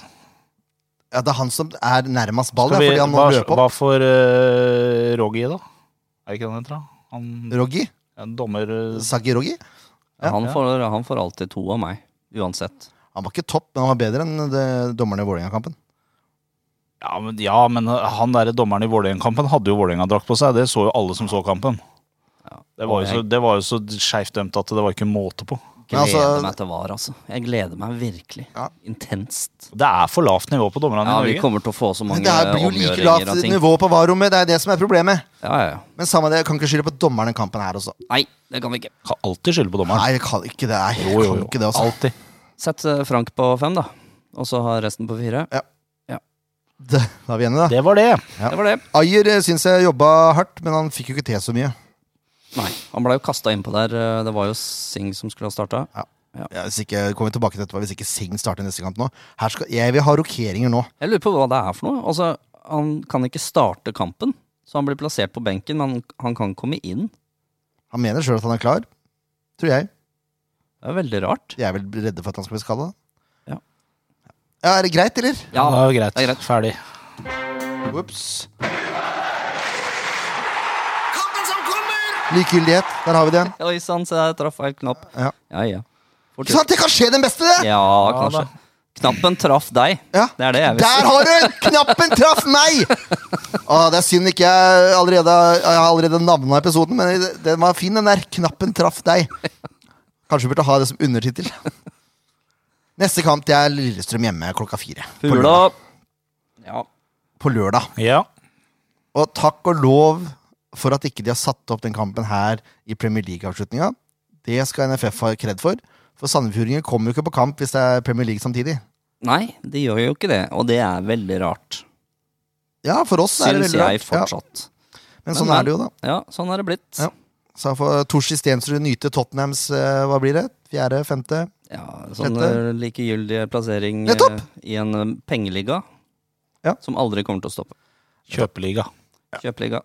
Speaker 1: Ja, Det er han som er nærmest ball, ja,
Speaker 3: Skal vi,
Speaker 1: fordi han må
Speaker 3: hva,
Speaker 1: løpe opp.
Speaker 3: hva får uh, Roggi, da? Er det ikke han heter, da? Han
Speaker 1: Roggi?
Speaker 3: en dommer eh,
Speaker 1: Sagi Roggi?
Speaker 2: Ja, han, får, han får alltid to av meg, uansett.
Speaker 1: Han var ikke topp, men han var bedre enn det, dommerne i Vålerenga-kampen.
Speaker 3: ja, men, ja, men eh, han derre dommeren i Vålerenga-kampen hadde jo Vålerenga-drakt på seg. Det så jo alle som så kampen.
Speaker 2: Ja.
Speaker 3: Det var jo så,
Speaker 2: Og
Speaker 3: det var jo så skeivt dømt at det var ikke måte på.
Speaker 2: Jeg
Speaker 1: Men
Speaker 2: gleder
Speaker 1: altså-
Speaker 2: meg til VAR, altså. Jeg gleder meg virkelig.
Speaker 1: Ja.
Speaker 2: Intenst.
Speaker 3: Det er for lavt nivå på dommerne
Speaker 2: Ja,
Speaker 3: i
Speaker 2: vi
Speaker 3: Norge.
Speaker 2: kommer til å få så
Speaker 1: Men
Speaker 2: mange
Speaker 1: det her blir jo like
Speaker 2: omgjøringer av
Speaker 1: lavt
Speaker 2: ting.
Speaker 1: nivå på varerommet, det er det som er problemet.
Speaker 2: Ja, ja, ja.
Speaker 1: Men samme det, jeg kan ikke skylde på dommerne i kampen her også.
Speaker 2: Nei, det kan vi ikke.
Speaker 3: Kan alltid skylde på dommeren.
Speaker 1: Nei, jeg kan ikke det. Nei, jeg
Speaker 3: Jo, jo,
Speaker 1: kan
Speaker 3: jo.
Speaker 1: ikke det altså.
Speaker 3: Alltid.
Speaker 2: Sett eh, Frank på fem, da. Og så har resten på fire.
Speaker 1: Det, da er vi enige, da.
Speaker 3: Det var det.
Speaker 1: [laughs] Ja.
Speaker 2: Det var det.
Speaker 1: Ayer eh, syns jeg jobba hardt, men han fikk jo ikke til så mye.
Speaker 2: Nei, han ble jo kasta innpå der. eh, Det var jo Singh som skulle ha starta.
Speaker 1: Ja, hvis ikke, kommer vi tilbake til dette, hvis ikke Singh starter neste kamp nå. Her skal, jeg vil ha rokeringer nå.
Speaker 2: Jeg lurer på hva det er for noe. Altså, han kan ikke starte kampen, så han blir plassert på benken, men han kan komme inn.
Speaker 1: Han mener sjøl at han er klar. Tror jeg.
Speaker 2: Det er veldig rart.
Speaker 1: De er vel redde for at han skal bli skada.
Speaker 2: Ja.
Speaker 1: ja, er det greit, eller?
Speaker 2: Ja,
Speaker 3: det var jo greit.
Speaker 2: det er greit.
Speaker 3: Ferdig.
Speaker 1: Ops.
Speaker 4: Kampen som kommer!
Speaker 1: Likegyldighet. Der har vi det.
Speaker 2: Oi sann, se der, traff feil knapp.
Speaker 1: Ja.
Speaker 2: ja. ja. Fort
Speaker 1: Ikke sant? Det kan skje den beste, det!
Speaker 2: Ja, kanskje.
Speaker 3: da.
Speaker 2: Knappen traff deg.
Speaker 1: Ja.
Speaker 2: Det er det jeg vil si.
Speaker 1: Der har du den! Knappen traff meg! Å, det er synd ikke jeg allerede Jeg har allerede navnet episoden, men den var fin, den der. Knappen traff deg. Kanskje vi burde ha det som undertittel. Neste kamp det er Lillestrøm hjemme klokka fire. På lørdag.
Speaker 2: Fugla. Ja.
Speaker 1: På lørdag.
Speaker 3: Ja.
Speaker 1: Og takk og lov for at ikke de har satt opp den kampen her i Premier League-avslutninga. Det skal NFF ha kred for. For Sandefjordinger kommer jo ikke på kamp hvis det er Premier League samtidig.
Speaker 2: Nei, de gjør jo ikke det, og det er veldig rart.
Speaker 1: Ja, for oss er det
Speaker 2: Syns
Speaker 1: veldig
Speaker 2: jeg
Speaker 1: rart.
Speaker 2: fortsatt.
Speaker 1: Ja, men sånn er det jo, da.
Speaker 2: Ja, sånn er det blitt.
Speaker 1: Ja. Så får Torsi Stensrud nyte Tottenhams eh, hva blir det? Fjerde? Femte?
Speaker 2: Ja, sånn
Speaker 1: Dette-
Speaker 2: eh, likegyldig plassering eh,
Speaker 1: Nettopp!
Speaker 2: i en eh, pengeliga
Speaker 1: Ja.
Speaker 2: som aldri kommer til å stoppe.
Speaker 3: Kjøpeliga.
Speaker 2: Kjøpeliga.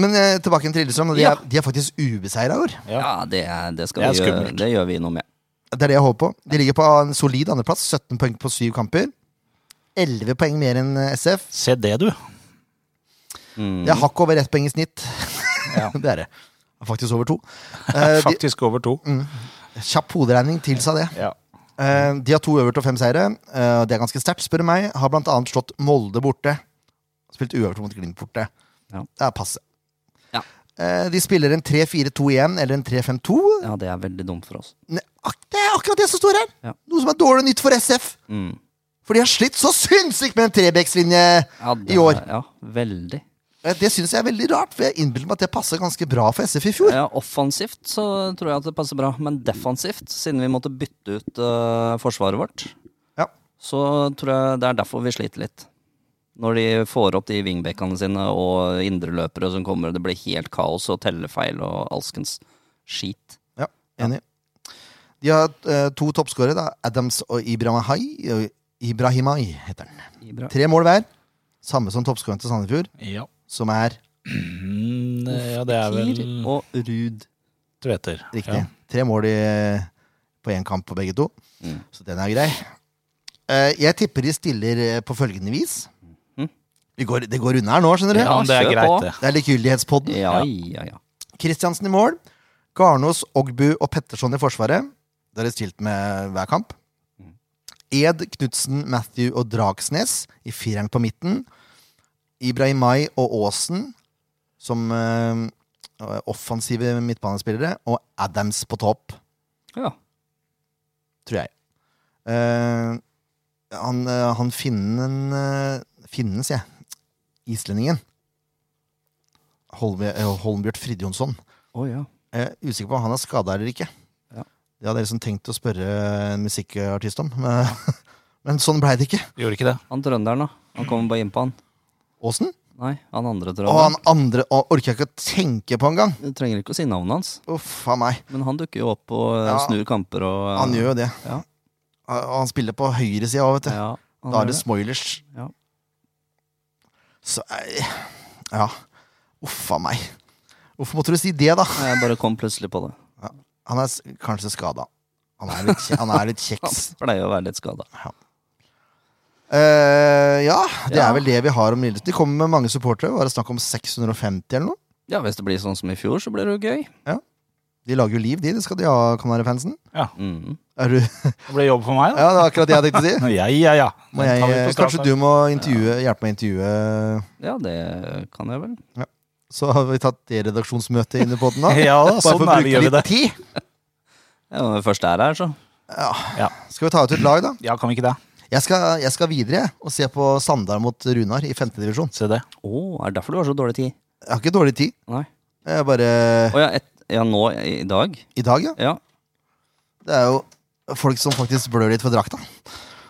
Speaker 1: Men eh, tilbake igjen til Lillestrøm. og De,
Speaker 2: Ja.
Speaker 1: er- de er faktisk ubeseira i år.
Speaker 3: Ja.
Speaker 2: Ja, det, er- det skal vi
Speaker 3: Det er
Speaker 2: gjøre.
Speaker 3: skummelt.
Speaker 2: Det gjør vi noe med.
Speaker 1: Det er det jeg håper på. De ligger på en solid andreplass. 17 poeng på syv kamper. 11 poeng mer enn eh, SF.
Speaker 3: Se det, du.
Speaker 2: Mm.
Speaker 1: Det er hakk over ett poeng i snitt.
Speaker 3: Ja.
Speaker 1: [laughs] det er det. Faktisk
Speaker 2: [laughs]
Speaker 1: over to. Eh, de,
Speaker 3: Faktisk over to.
Speaker 1: kjapp hoderegning tilsa det.
Speaker 3: Ja.
Speaker 1: Eh, de har to øvert og fem seire. eh, og det er ganske sterkt, spør du meg. Har blant annet slått Molde borte. Spilt uøvert mot Glimt borte.
Speaker 2: Ja.
Speaker 1: Det er passe.
Speaker 2: Ja.
Speaker 1: Eh, de spiller en 3-4-2-1 eller en 3-5-2.
Speaker 2: Ja, det er veldig dumt for oss.
Speaker 1: Ne- ak- Det er akkurat det som står her!
Speaker 2: Ja.
Speaker 1: Noe som er dårlig nytt for SF.
Speaker 2: Mm.
Speaker 1: For de har slitt så sinnssykt med en trebekslinje
Speaker 2: Ja, det,
Speaker 1: i år.
Speaker 2: Ja, veldig.
Speaker 1: Eh, Det syns jeg er veldig rart, for jeg innbiller meg at det passer ganske bra for SF i fjor.
Speaker 2: Ja, offensivt så tror jeg at det passer bra, men defensivt, siden vi måtte bytte ut eh, forsvaret vårt,
Speaker 1: Ja.
Speaker 2: så tror jeg det er derfor vi sliter litt. Når de får opp de wingbackene sine og indreløpere som kommer, det blir helt kaos og tellefeil og alskens skit.
Speaker 1: Ja, enig. De har eh, to toppskårere, da. Adams og Ibrahimai. Ibrahimai heter han.
Speaker 2: Ibra.
Speaker 1: Tre mål hver. Samme som toppskåreren til Sandefjord,
Speaker 3: Ja.
Speaker 1: som er
Speaker 3: Mm, ja, det er vel
Speaker 2: Kir og Ruud.
Speaker 3: Tveter.
Speaker 1: riktig.
Speaker 3: Ja.
Speaker 1: Tre mål i, på én kamp på begge to.
Speaker 2: Mm.
Speaker 1: Så den er grei. Eh, jeg tipper de stiller eh, på følgende vis.
Speaker 2: Mhm.
Speaker 1: Vi går, det går unna her nå, skjønner du.
Speaker 3: Ja, men det er
Speaker 2: kjør
Speaker 3: greit,
Speaker 2: på.
Speaker 3: det.
Speaker 1: Det er likegyldighetspodden.
Speaker 2: Ja, ja, ja.
Speaker 1: Kristiansen i mål. Garnås, Ogbu og Petterson i forsvaret. Det er det stilt med hver kamp. Ed, Knutsen, Matthew og Dragsnes i fireren på midten. Ibrahimai og Aasen som eh, offensive midtbanespillere. Og Adams på topp,
Speaker 2: ja.
Speaker 1: tror jeg. Eh, han, eh, han finnen eh, Finnen, sier jeg. Islendingen. Holm, eh, Holmbjørt Fridjonsson.
Speaker 2: Å, ja.
Speaker 1: Jeg er usikker på om han er skada eller ikke.
Speaker 2: Ja.
Speaker 1: Det hadde jeg liksom tenkt å spørre en musikkartist om, men, [laughs] men sånn blei det ikke.
Speaker 3: Gjorde ikke det.
Speaker 2: Han trønderen, da. Han kommer bare innpå, han.
Speaker 1: Åsen?
Speaker 2: Nei, han andre
Speaker 1: Og
Speaker 2: trønderen.
Speaker 1: han andre og orker jeg ikke å tenke på engang.
Speaker 2: Du trenger ikke å si navnet hans,
Speaker 1: Uff a meg.
Speaker 2: men han dukker jo opp og eh,
Speaker 1: Ja.
Speaker 2: snur kamper og eh,
Speaker 1: Han gjør jo det.
Speaker 2: Ja.
Speaker 1: Og han spiller på høyresida òg, vet du.
Speaker 2: ja, han
Speaker 1: da er
Speaker 2: gjør
Speaker 1: det
Speaker 2: det.
Speaker 1: smoilers.
Speaker 2: Ja.
Speaker 1: Så eh, Ja. Uff a meg. Hvorfor måtte du si det, da?
Speaker 2: Nei, Jeg bare kom plutselig på det.
Speaker 1: Han er s- kanskje skada. Han er litt, kje- han er litt
Speaker 2: Han [laughs]
Speaker 1: kjeks.
Speaker 2: pleier å være litt skada.
Speaker 1: Eh, ja, det
Speaker 2: Ja.
Speaker 1: er vel det vi har om Lillestrøm. De kommer med mange supportere. Var det snakk om 650 eller noe?
Speaker 2: Ja, hvis det blir sånn som i fjor, så blir det jo gøy.
Speaker 1: De lager jo liv, de. Det skal de ha, Kanarifansen.
Speaker 2: Mm.
Speaker 1: Er du [laughs]
Speaker 3: Det ble jobb for meg, da.
Speaker 1: Ja, det var akkurat det jeg tenkte å
Speaker 3: [laughs]
Speaker 1: si.
Speaker 3: Ja, ja, ja.
Speaker 1: Må
Speaker 3: Den
Speaker 1: jeg, eh,
Speaker 3: tar vi på
Speaker 1: kanskje
Speaker 3: straffe.
Speaker 1: du må intervjue, hjelpe meg å intervjue
Speaker 2: Ja, det kan jeg vel.
Speaker 1: Så har vi tatt det redaksjonsmøtet inne på den da.
Speaker 3: [laughs] [laughs] Ja da,
Speaker 1: Bare
Speaker 3: sånn
Speaker 1: for å
Speaker 3: er det,
Speaker 1: bruke
Speaker 3: gjør vi
Speaker 1: litt
Speaker 3: det.
Speaker 1: tid.
Speaker 2: Ja, når vi først er her, så.
Speaker 1: Skal vi ta ut et lag, da?
Speaker 3: Ja, kan vi ikke det?
Speaker 1: Jeg skal, jeg skal videre jeg, og se på Sandar mot Runar i femte divisjon.
Speaker 3: Se det.
Speaker 2: Å, er det derfor du har så dårlig tid?
Speaker 1: Jeg har ikke dårlig tid.
Speaker 2: Nei.
Speaker 1: Jeg er bare
Speaker 2: Å ja, et, ja, nå i i dag?
Speaker 1: I dag, ja.
Speaker 2: Ja.
Speaker 1: Det er jo folk som faktisk blør litt for drakta.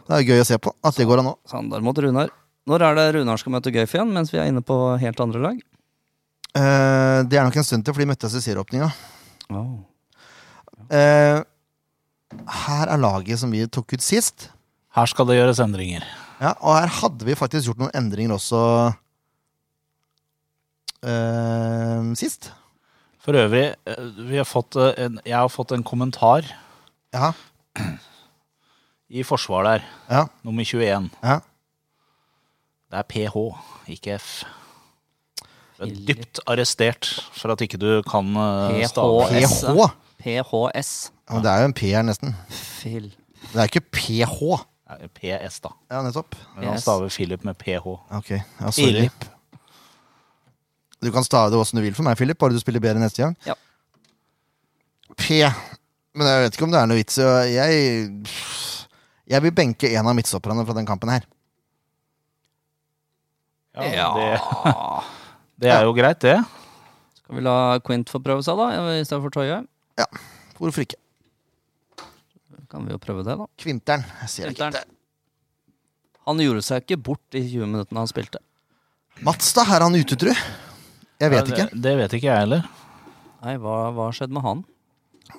Speaker 1: Det er gøy å se på at det går an nå.
Speaker 2: Sandar mot Runar. Når er det Runar skal møte Gøyf igjen, mens vi er inne på helt andre lag?
Speaker 1: Eh, det er nok en stund til, for de møttes i serieåpninga.
Speaker 2: Å.
Speaker 1: Eh, her er laget som vi tok ut sist.
Speaker 3: Her skal det gjøres endringer.
Speaker 1: Ja, og her hadde vi faktisk gjort noen endringer også eh, sist.
Speaker 3: For øvrig, eh, vi har fått eh, en, jeg har fått en kommentar
Speaker 1: Ja,
Speaker 3: i forsvar der.
Speaker 1: ja,
Speaker 3: Nummer 21.
Speaker 1: ja.
Speaker 3: Det er PH, ikke F. Du er dypt arrestert for at ikke du kan eh,
Speaker 2: PH.
Speaker 3: stave
Speaker 1: PH.
Speaker 2: S, PHS.
Speaker 1: Ja, men det er jo en P her, nesten.
Speaker 2: Phil.
Speaker 1: Det er ikke PH.
Speaker 3: Nei, PS, da.
Speaker 1: Ja, nettopp.
Speaker 3: Men han
Speaker 2: PS.
Speaker 3: staver Philip med PH.
Speaker 1: Ok, ja, sorry.
Speaker 3: Philip.
Speaker 1: Du kan stave det åssen du vil for meg, Philip, bare du spiller bedre neste gang.
Speaker 2: Ja.
Speaker 1: P. Men jeg vet ikke om det er noe vits. i å- Jeg, jeg vil benke en av midtstopperne fra den kampen her.
Speaker 2: Ja,
Speaker 3: Det, det er jo greit, det.
Speaker 2: Skal vi la Quint få prøve seg, da, i stedet for Toye?
Speaker 1: Hvorfor ikke?
Speaker 2: Kan vi jo prøve det, da.
Speaker 1: Kvinteren. Jeg ser ikke
Speaker 2: Kvinteren. Han gjorde seg ikke bort i 20 minuttene han spilte.
Speaker 1: Mats, da? Er han ute, tru? Jeg vet
Speaker 3: Ja,
Speaker 1: ikke.
Speaker 3: Det, det vet ikke jeg heller.
Speaker 2: Nei, hva, hva skjedde med han?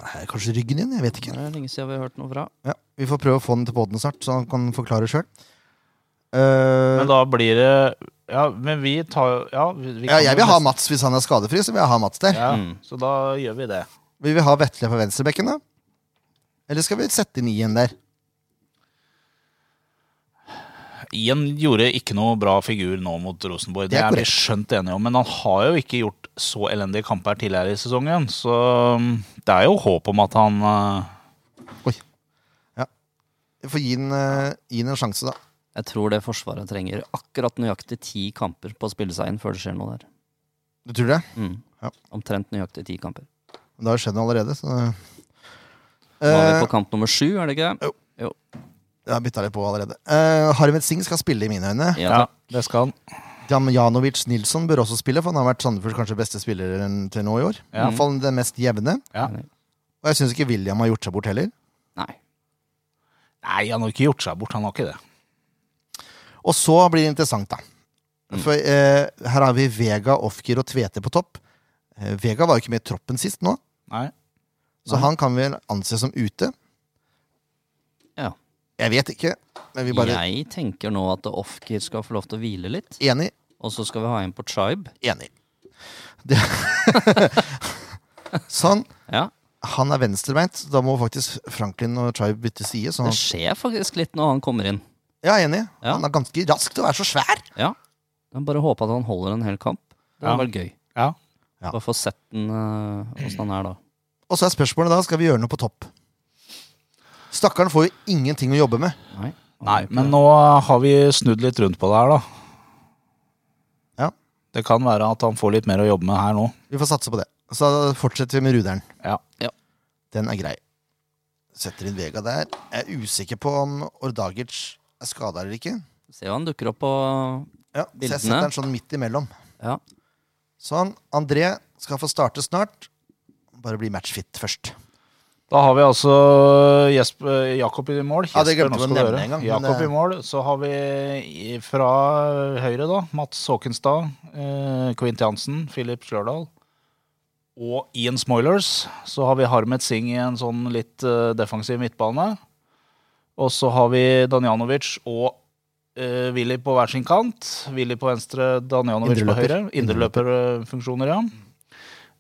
Speaker 1: Nei, Kanskje ryggen igjen? Jeg vet
Speaker 2: Det
Speaker 1: ikke.
Speaker 2: er lenge siden vi har hørt noe fra.
Speaker 1: Ja, vi får prøve å få den til poden snart, så han kan forklare Eh, sjøl.
Speaker 3: Men da blir det Ja, men vi tar jo Ja, vi, vi
Speaker 1: ja,
Speaker 3: kan
Speaker 1: jeg
Speaker 3: jo
Speaker 1: vil ha
Speaker 3: nesten-
Speaker 1: Mats hvis han er skadefri. Så vil jeg ha Mats der.
Speaker 3: Ja,
Speaker 2: Mm.
Speaker 3: Så da gjør vi det.
Speaker 1: Vil vi ha Vetle på venstrebekken, da? Eller skal vi sette inn Ien der?
Speaker 3: Ian gjorde ikke noe bra figur nå mot Rosenborg.
Speaker 1: Det
Speaker 3: Det
Speaker 1: er
Speaker 3: er vi
Speaker 1: korrekt.
Speaker 3: skjønt enige om, men han har jo ikke gjort så elendige kamper tidligere i sesongen. Så um, det er jo håp om at han uh,
Speaker 1: Vi får gi den, eh, gi den en sjanse, da.
Speaker 2: Jeg tror det Forsvaret trenger akkurat nøyaktig ti kamper på å spille seg inn før det skjer noe der.
Speaker 1: Du tror det?
Speaker 2: Mm.
Speaker 1: Ja.
Speaker 2: Omtrent nøyaktig ti kamper.
Speaker 1: Men Det har jo skjedd noe allerede, så
Speaker 2: Nå er
Speaker 1: Eh,
Speaker 2: vi på kamp nummer sju, er det ikke? det?
Speaker 1: Jeg har bytta litt på allerede. Eh, Harmet Singh skal spille, i mine øyne.
Speaker 2: Ja,
Speaker 3: Ja,
Speaker 2: takk.
Speaker 3: det skal han.
Speaker 1: Damjanovic Nilsson bør også spille, for han har vært Sandefjords kanskje beste spiller til nå i år. I
Speaker 3: Ja.
Speaker 1: hvert fall den mest jevne.
Speaker 3: Ja.
Speaker 1: Og jeg syns ikke William har gjort seg bort heller.
Speaker 2: Nei.
Speaker 3: Nei, han har ikke gjort seg bort. Han har ikke det.
Speaker 1: Og så blir det interessant, da.
Speaker 3: Mm.
Speaker 1: For eh, her har vi Vega, Ofker og Tvete på topp. Eh, Vega var jo ikke med i troppen sist nå,
Speaker 3: Nei.
Speaker 1: så han kan vel anses som ute.
Speaker 2: Ja.
Speaker 1: Jeg vet ikke, men vi bare
Speaker 2: Jeg tenker nå at Ofkir skal få lov til å hvile litt,
Speaker 1: Enig.
Speaker 2: og så skal vi ha en på Tribe.
Speaker 1: Enig. Det... [laughs] sånn.
Speaker 2: Ja,
Speaker 1: Han er venstrebeint, så da må faktisk Franklin og Tribe bytte side. Så
Speaker 2: Det
Speaker 1: han...
Speaker 2: skjer faktisk litt når han kommer inn.
Speaker 1: Ja, enig.
Speaker 2: Ja.
Speaker 1: Han er ganske rask til å være så svær.
Speaker 2: Ja. Jeg bare håper at han holder en hel kamp. Det hadde
Speaker 3: Ja.
Speaker 2: vært gøy.
Speaker 3: Ja.
Speaker 1: Ja.
Speaker 2: Bare få sett den eh, åssen han er da.
Speaker 1: Og så er spørsmålet da, skal vi gjøre noe på topp? Stakkaren får jo ingenting å jobbe med.
Speaker 2: Nei. han
Speaker 3: Nei,
Speaker 2: er ikke-
Speaker 3: men nå har vi snudd litt rundt på det her, da.
Speaker 1: Ja.
Speaker 3: Det kan være at han får litt mer å jobbe med her nå.
Speaker 1: Vi får satse på det. Så fortsetter vi med Ruderen.
Speaker 3: Ja.
Speaker 1: Den er grei. Setter inn Vega der. Jeg er usikker på om Ordagic er skada eller ikke.
Speaker 2: Se hva han dukker opp på
Speaker 1: Ja, så jeg
Speaker 2: Bildene.
Speaker 1: setter den sånn midt imellom.
Speaker 2: Ja.
Speaker 1: Sånn. André skal få starte snart. Bare bli matchfit først.
Speaker 3: Da har vi altså Jesper, Jakob i mål.
Speaker 1: Ja, det
Speaker 3: Jesper
Speaker 1: glemte vi å
Speaker 3: Norskog
Speaker 1: nevne
Speaker 3: Øre.
Speaker 1: en gang, men eh,
Speaker 3: Jakob
Speaker 1: det-
Speaker 3: i mål. Så har vi i- fra høyre, da, Mats Håkenstad, eh, Quint Jansen, Filip Slørdal. Og Ian Smoilers. Så har vi Harmet Singh i en sånn litt eh, defensiv midtbane. Og så har vi Danjanovic og eh, Willy på hver sin kant. Willy på venstre, Danjanovic på
Speaker 1: Indreløper.
Speaker 3: høyre. Indreløperfunksjoner, ja.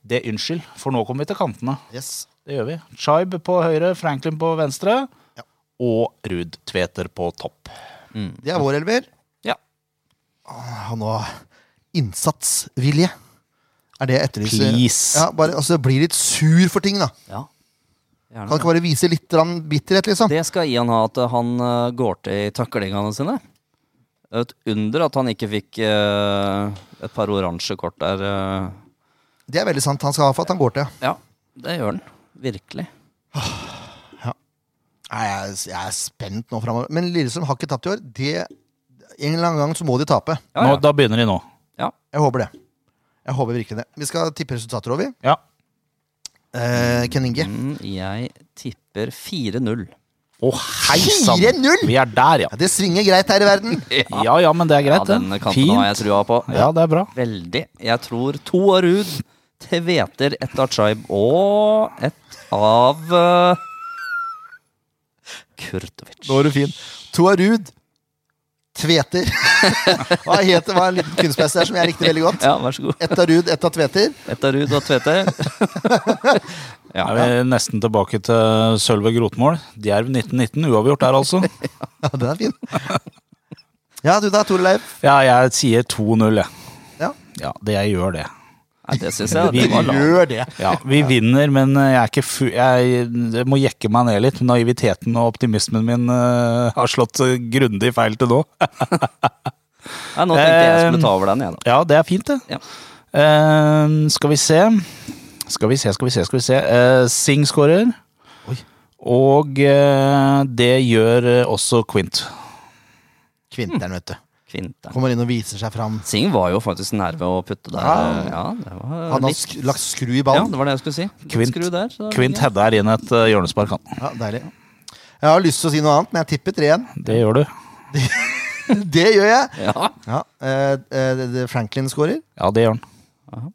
Speaker 3: Det unnskyld, for nå kommer vi til kantene.
Speaker 1: Yes.
Speaker 3: Det gjør vi. Chaib på høyre, Franklin på venstre.
Speaker 1: Ja.
Speaker 3: Og Ruud Tveter på topp.
Speaker 1: Det er vår elver.
Speaker 2: Ja.
Speaker 1: Han nå innsatsvilje. Er det jeg etterlyser?
Speaker 3: Please.
Speaker 1: Ja, bare, altså, bli litt sur for ting, da.
Speaker 2: ja. Gjerne
Speaker 1: Kan
Speaker 2: det.
Speaker 1: ikke bare vise litt grann bitterhet, liksom.
Speaker 2: Det skal Ian ha, at han eh, går til i taklingene sine. Det er Et under at han ikke fikk eh, et par oransje kort der. eh.
Speaker 1: Det er veldig sant. Han skal ha for at han går til.
Speaker 2: ja, det gjør han. Virkelig.
Speaker 1: Nei, jeg, er- jeg er spent nå framover. Men Lillestrøm har ikke tapt i år. Det, en eller annen gang så må de tape.
Speaker 2: Ja,
Speaker 3: Nå,
Speaker 2: ja.
Speaker 3: da begynner de nå.
Speaker 1: Jeg håper det. Jeg håper virkelig det. Vi skal tippe resultater over.
Speaker 3: Ja.
Speaker 1: Eh, Ken Inge.
Speaker 2: Mm, jeg tipper 4-0.
Speaker 3: Å, hei sann!
Speaker 1: 4-0!
Speaker 3: Vi er der, ja.
Speaker 1: Ja, det svinger greit her i verden.
Speaker 3: Ja ja, men det er
Speaker 2: Ja,
Speaker 3: greit,
Speaker 2: den
Speaker 3: det.
Speaker 2: kampen har jeg
Speaker 3: Fint.
Speaker 2: trua på.
Speaker 3: Ja, det er bra.
Speaker 2: Veldig. Jeg tror to av Ruud, Tveter, ett av Chaib og ett av eh, Kurtovic.
Speaker 1: [laughs] Nå er du fin. To av Ruud. [laughs] Tveter. Hva heter hva er en liten kunstpest der som jeg likte veldig godt?
Speaker 2: Ja, vær så god.
Speaker 1: Ett av Ruud, ett av Tveter.
Speaker 2: Ett av Ruud og Tveter. [laughs] ja,
Speaker 3: Er vi nesten tilbake til Sølve Grotmål. Djerv 1919, uavgjort der altså.
Speaker 1: Ja, den er fin. Ja, du da, Tore Leif.
Speaker 3: Ja, jeg sier 2-0, jeg.
Speaker 1: Ja.
Speaker 3: Ja, det jeg gjør det.
Speaker 2: Nei, det syns jeg.
Speaker 3: Vi
Speaker 2: Det var lavt.
Speaker 1: Gjør det.
Speaker 3: Ja, vi vinner, men eh, jeg er ikke fu... Jeg jeg må jekke meg ned litt. Naiviteten og optimismen min eh, har slått eh, grundig feil til nå.
Speaker 2: Nei, nå tenkte jeg jeg skulle ta over den, jeg, da.
Speaker 3: Ja, det er fint, det.
Speaker 2: Ja.
Speaker 3: Ehm, Eh, skal vi se Skal vi se, skal vi se. skal vi se Eh, Singh skårer.
Speaker 1: Oi.
Speaker 3: Og eh, det gjør eh, også Quint.
Speaker 1: Kvinteren, vet du.
Speaker 2: Kvinteren.
Speaker 1: Kommer inn og viser seg fram.
Speaker 2: Singh var jo faktisk nær ved å putte der.
Speaker 1: Ja.
Speaker 2: Ja, det var
Speaker 1: Han har
Speaker 2: litt-
Speaker 1: sk lagt skru i
Speaker 2: Ja,
Speaker 1: ballen.
Speaker 2: det var det jeg skulle si. Litt
Speaker 3: Kvint-
Speaker 2: Skru der. så da-
Speaker 3: Quint
Speaker 2: ja.
Speaker 3: header inn et eh, hjørnespark, han.
Speaker 1: Ja, deilig. Jeg har lyst til å si noe annet, men jeg tipper 3-1. [laughs]
Speaker 3: Det gjør du.
Speaker 1: Det gjør jeg!
Speaker 2: Ja.
Speaker 1: Ja, eh, eh, det- det- Franklin scorer.
Speaker 3: Ja, det gjør han.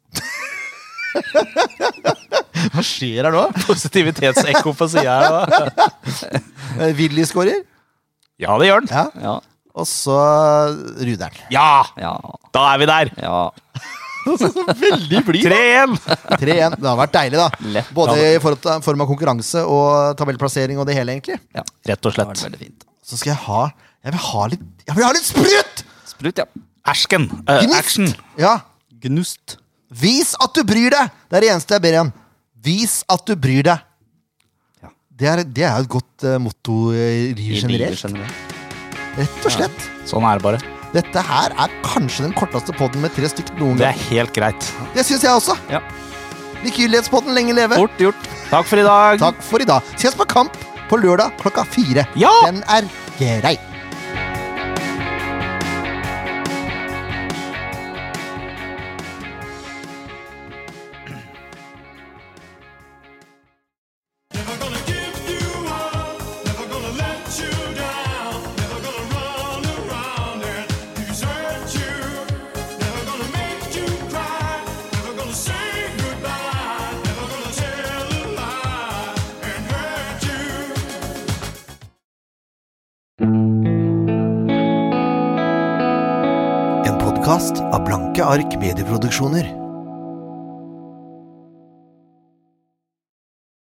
Speaker 3: [laughs]
Speaker 1: Hva skjer her nå?
Speaker 3: Positivitetsekko på sida her. da.
Speaker 1: Eh, Willy scorer.
Speaker 3: Ja, det gjør han.
Speaker 1: Ja.
Speaker 2: Ja.
Speaker 1: Og så Rudern.
Speaker 3: Ja!
Speaker 2: Ja.
Speaker 3: Da er vi der!
Speaker 2: ja.
Speaker 1: Veldig blid!
Speaker 3: 3-1!
Speaker 1: 3-1. Det har vært deilig, da.
Speaker 2: Lett.
Speaker 1: Både i forhold til- form av konkurranse og tabellplassering og det hele, egentlig.
Speaker 2: ja.
Speaker 3: Rett og
Speaker 2: Det var
Speaker 3: slett.
Speaker 2: veldig fint.
Speaker 1: Så skal jeg ha Jeg vil ha litt Jeg vil ha litt sprut!
Speaker 2: Sprut, ja.
Speaker 3: Ersken. eh,
Speaker 1: Gnist!
Speaker 3: action.
Speaker 1: Ja.
Speaker 2: Gnust.
Speaker 1: Vis at du bryr deg! Det er det eneste jeg ber om. Vis at du bryr deg.
Speaker 2: Ja.
Speaker 1: Det er, det er et godt eh, motto eh, i
Speaker 2: I
Speaker 1: livet
Speaker 2: livet
Speaker 1: generelt.
Speaker 2: generelt.
Speaker 1: Rett og slett.
Speaker 3: Sånn er det bare.
Speaker 1: Dette her er kanskje den korteste podden med tre stykk noen
Speaker 3: Det
Speaker 1: gang.
Speaker 3: er helt greit.
Speaker 1: Det syns jeg også.
Speaker 2: Ja.
Speaker 1: Likegyldighetspodden lenge leve.
Speaker 2: Fort gjort.
Speaker 3: Takk for i dag.
Speaker 1: Takk for i dag. Ses på Kamp på lørdag klokka fire.
Speaker 3: Ja!
Speaker 1: Den er grei.
Speaker 5: Never gonna give you up, never gonna let you down, never gonna run around and desert you, never gonna make you cry, never gonna say goodbye, never gonna tell a lie and hurt you.
Speaker 1: En podkast av Blanke ark medieproduksjoner.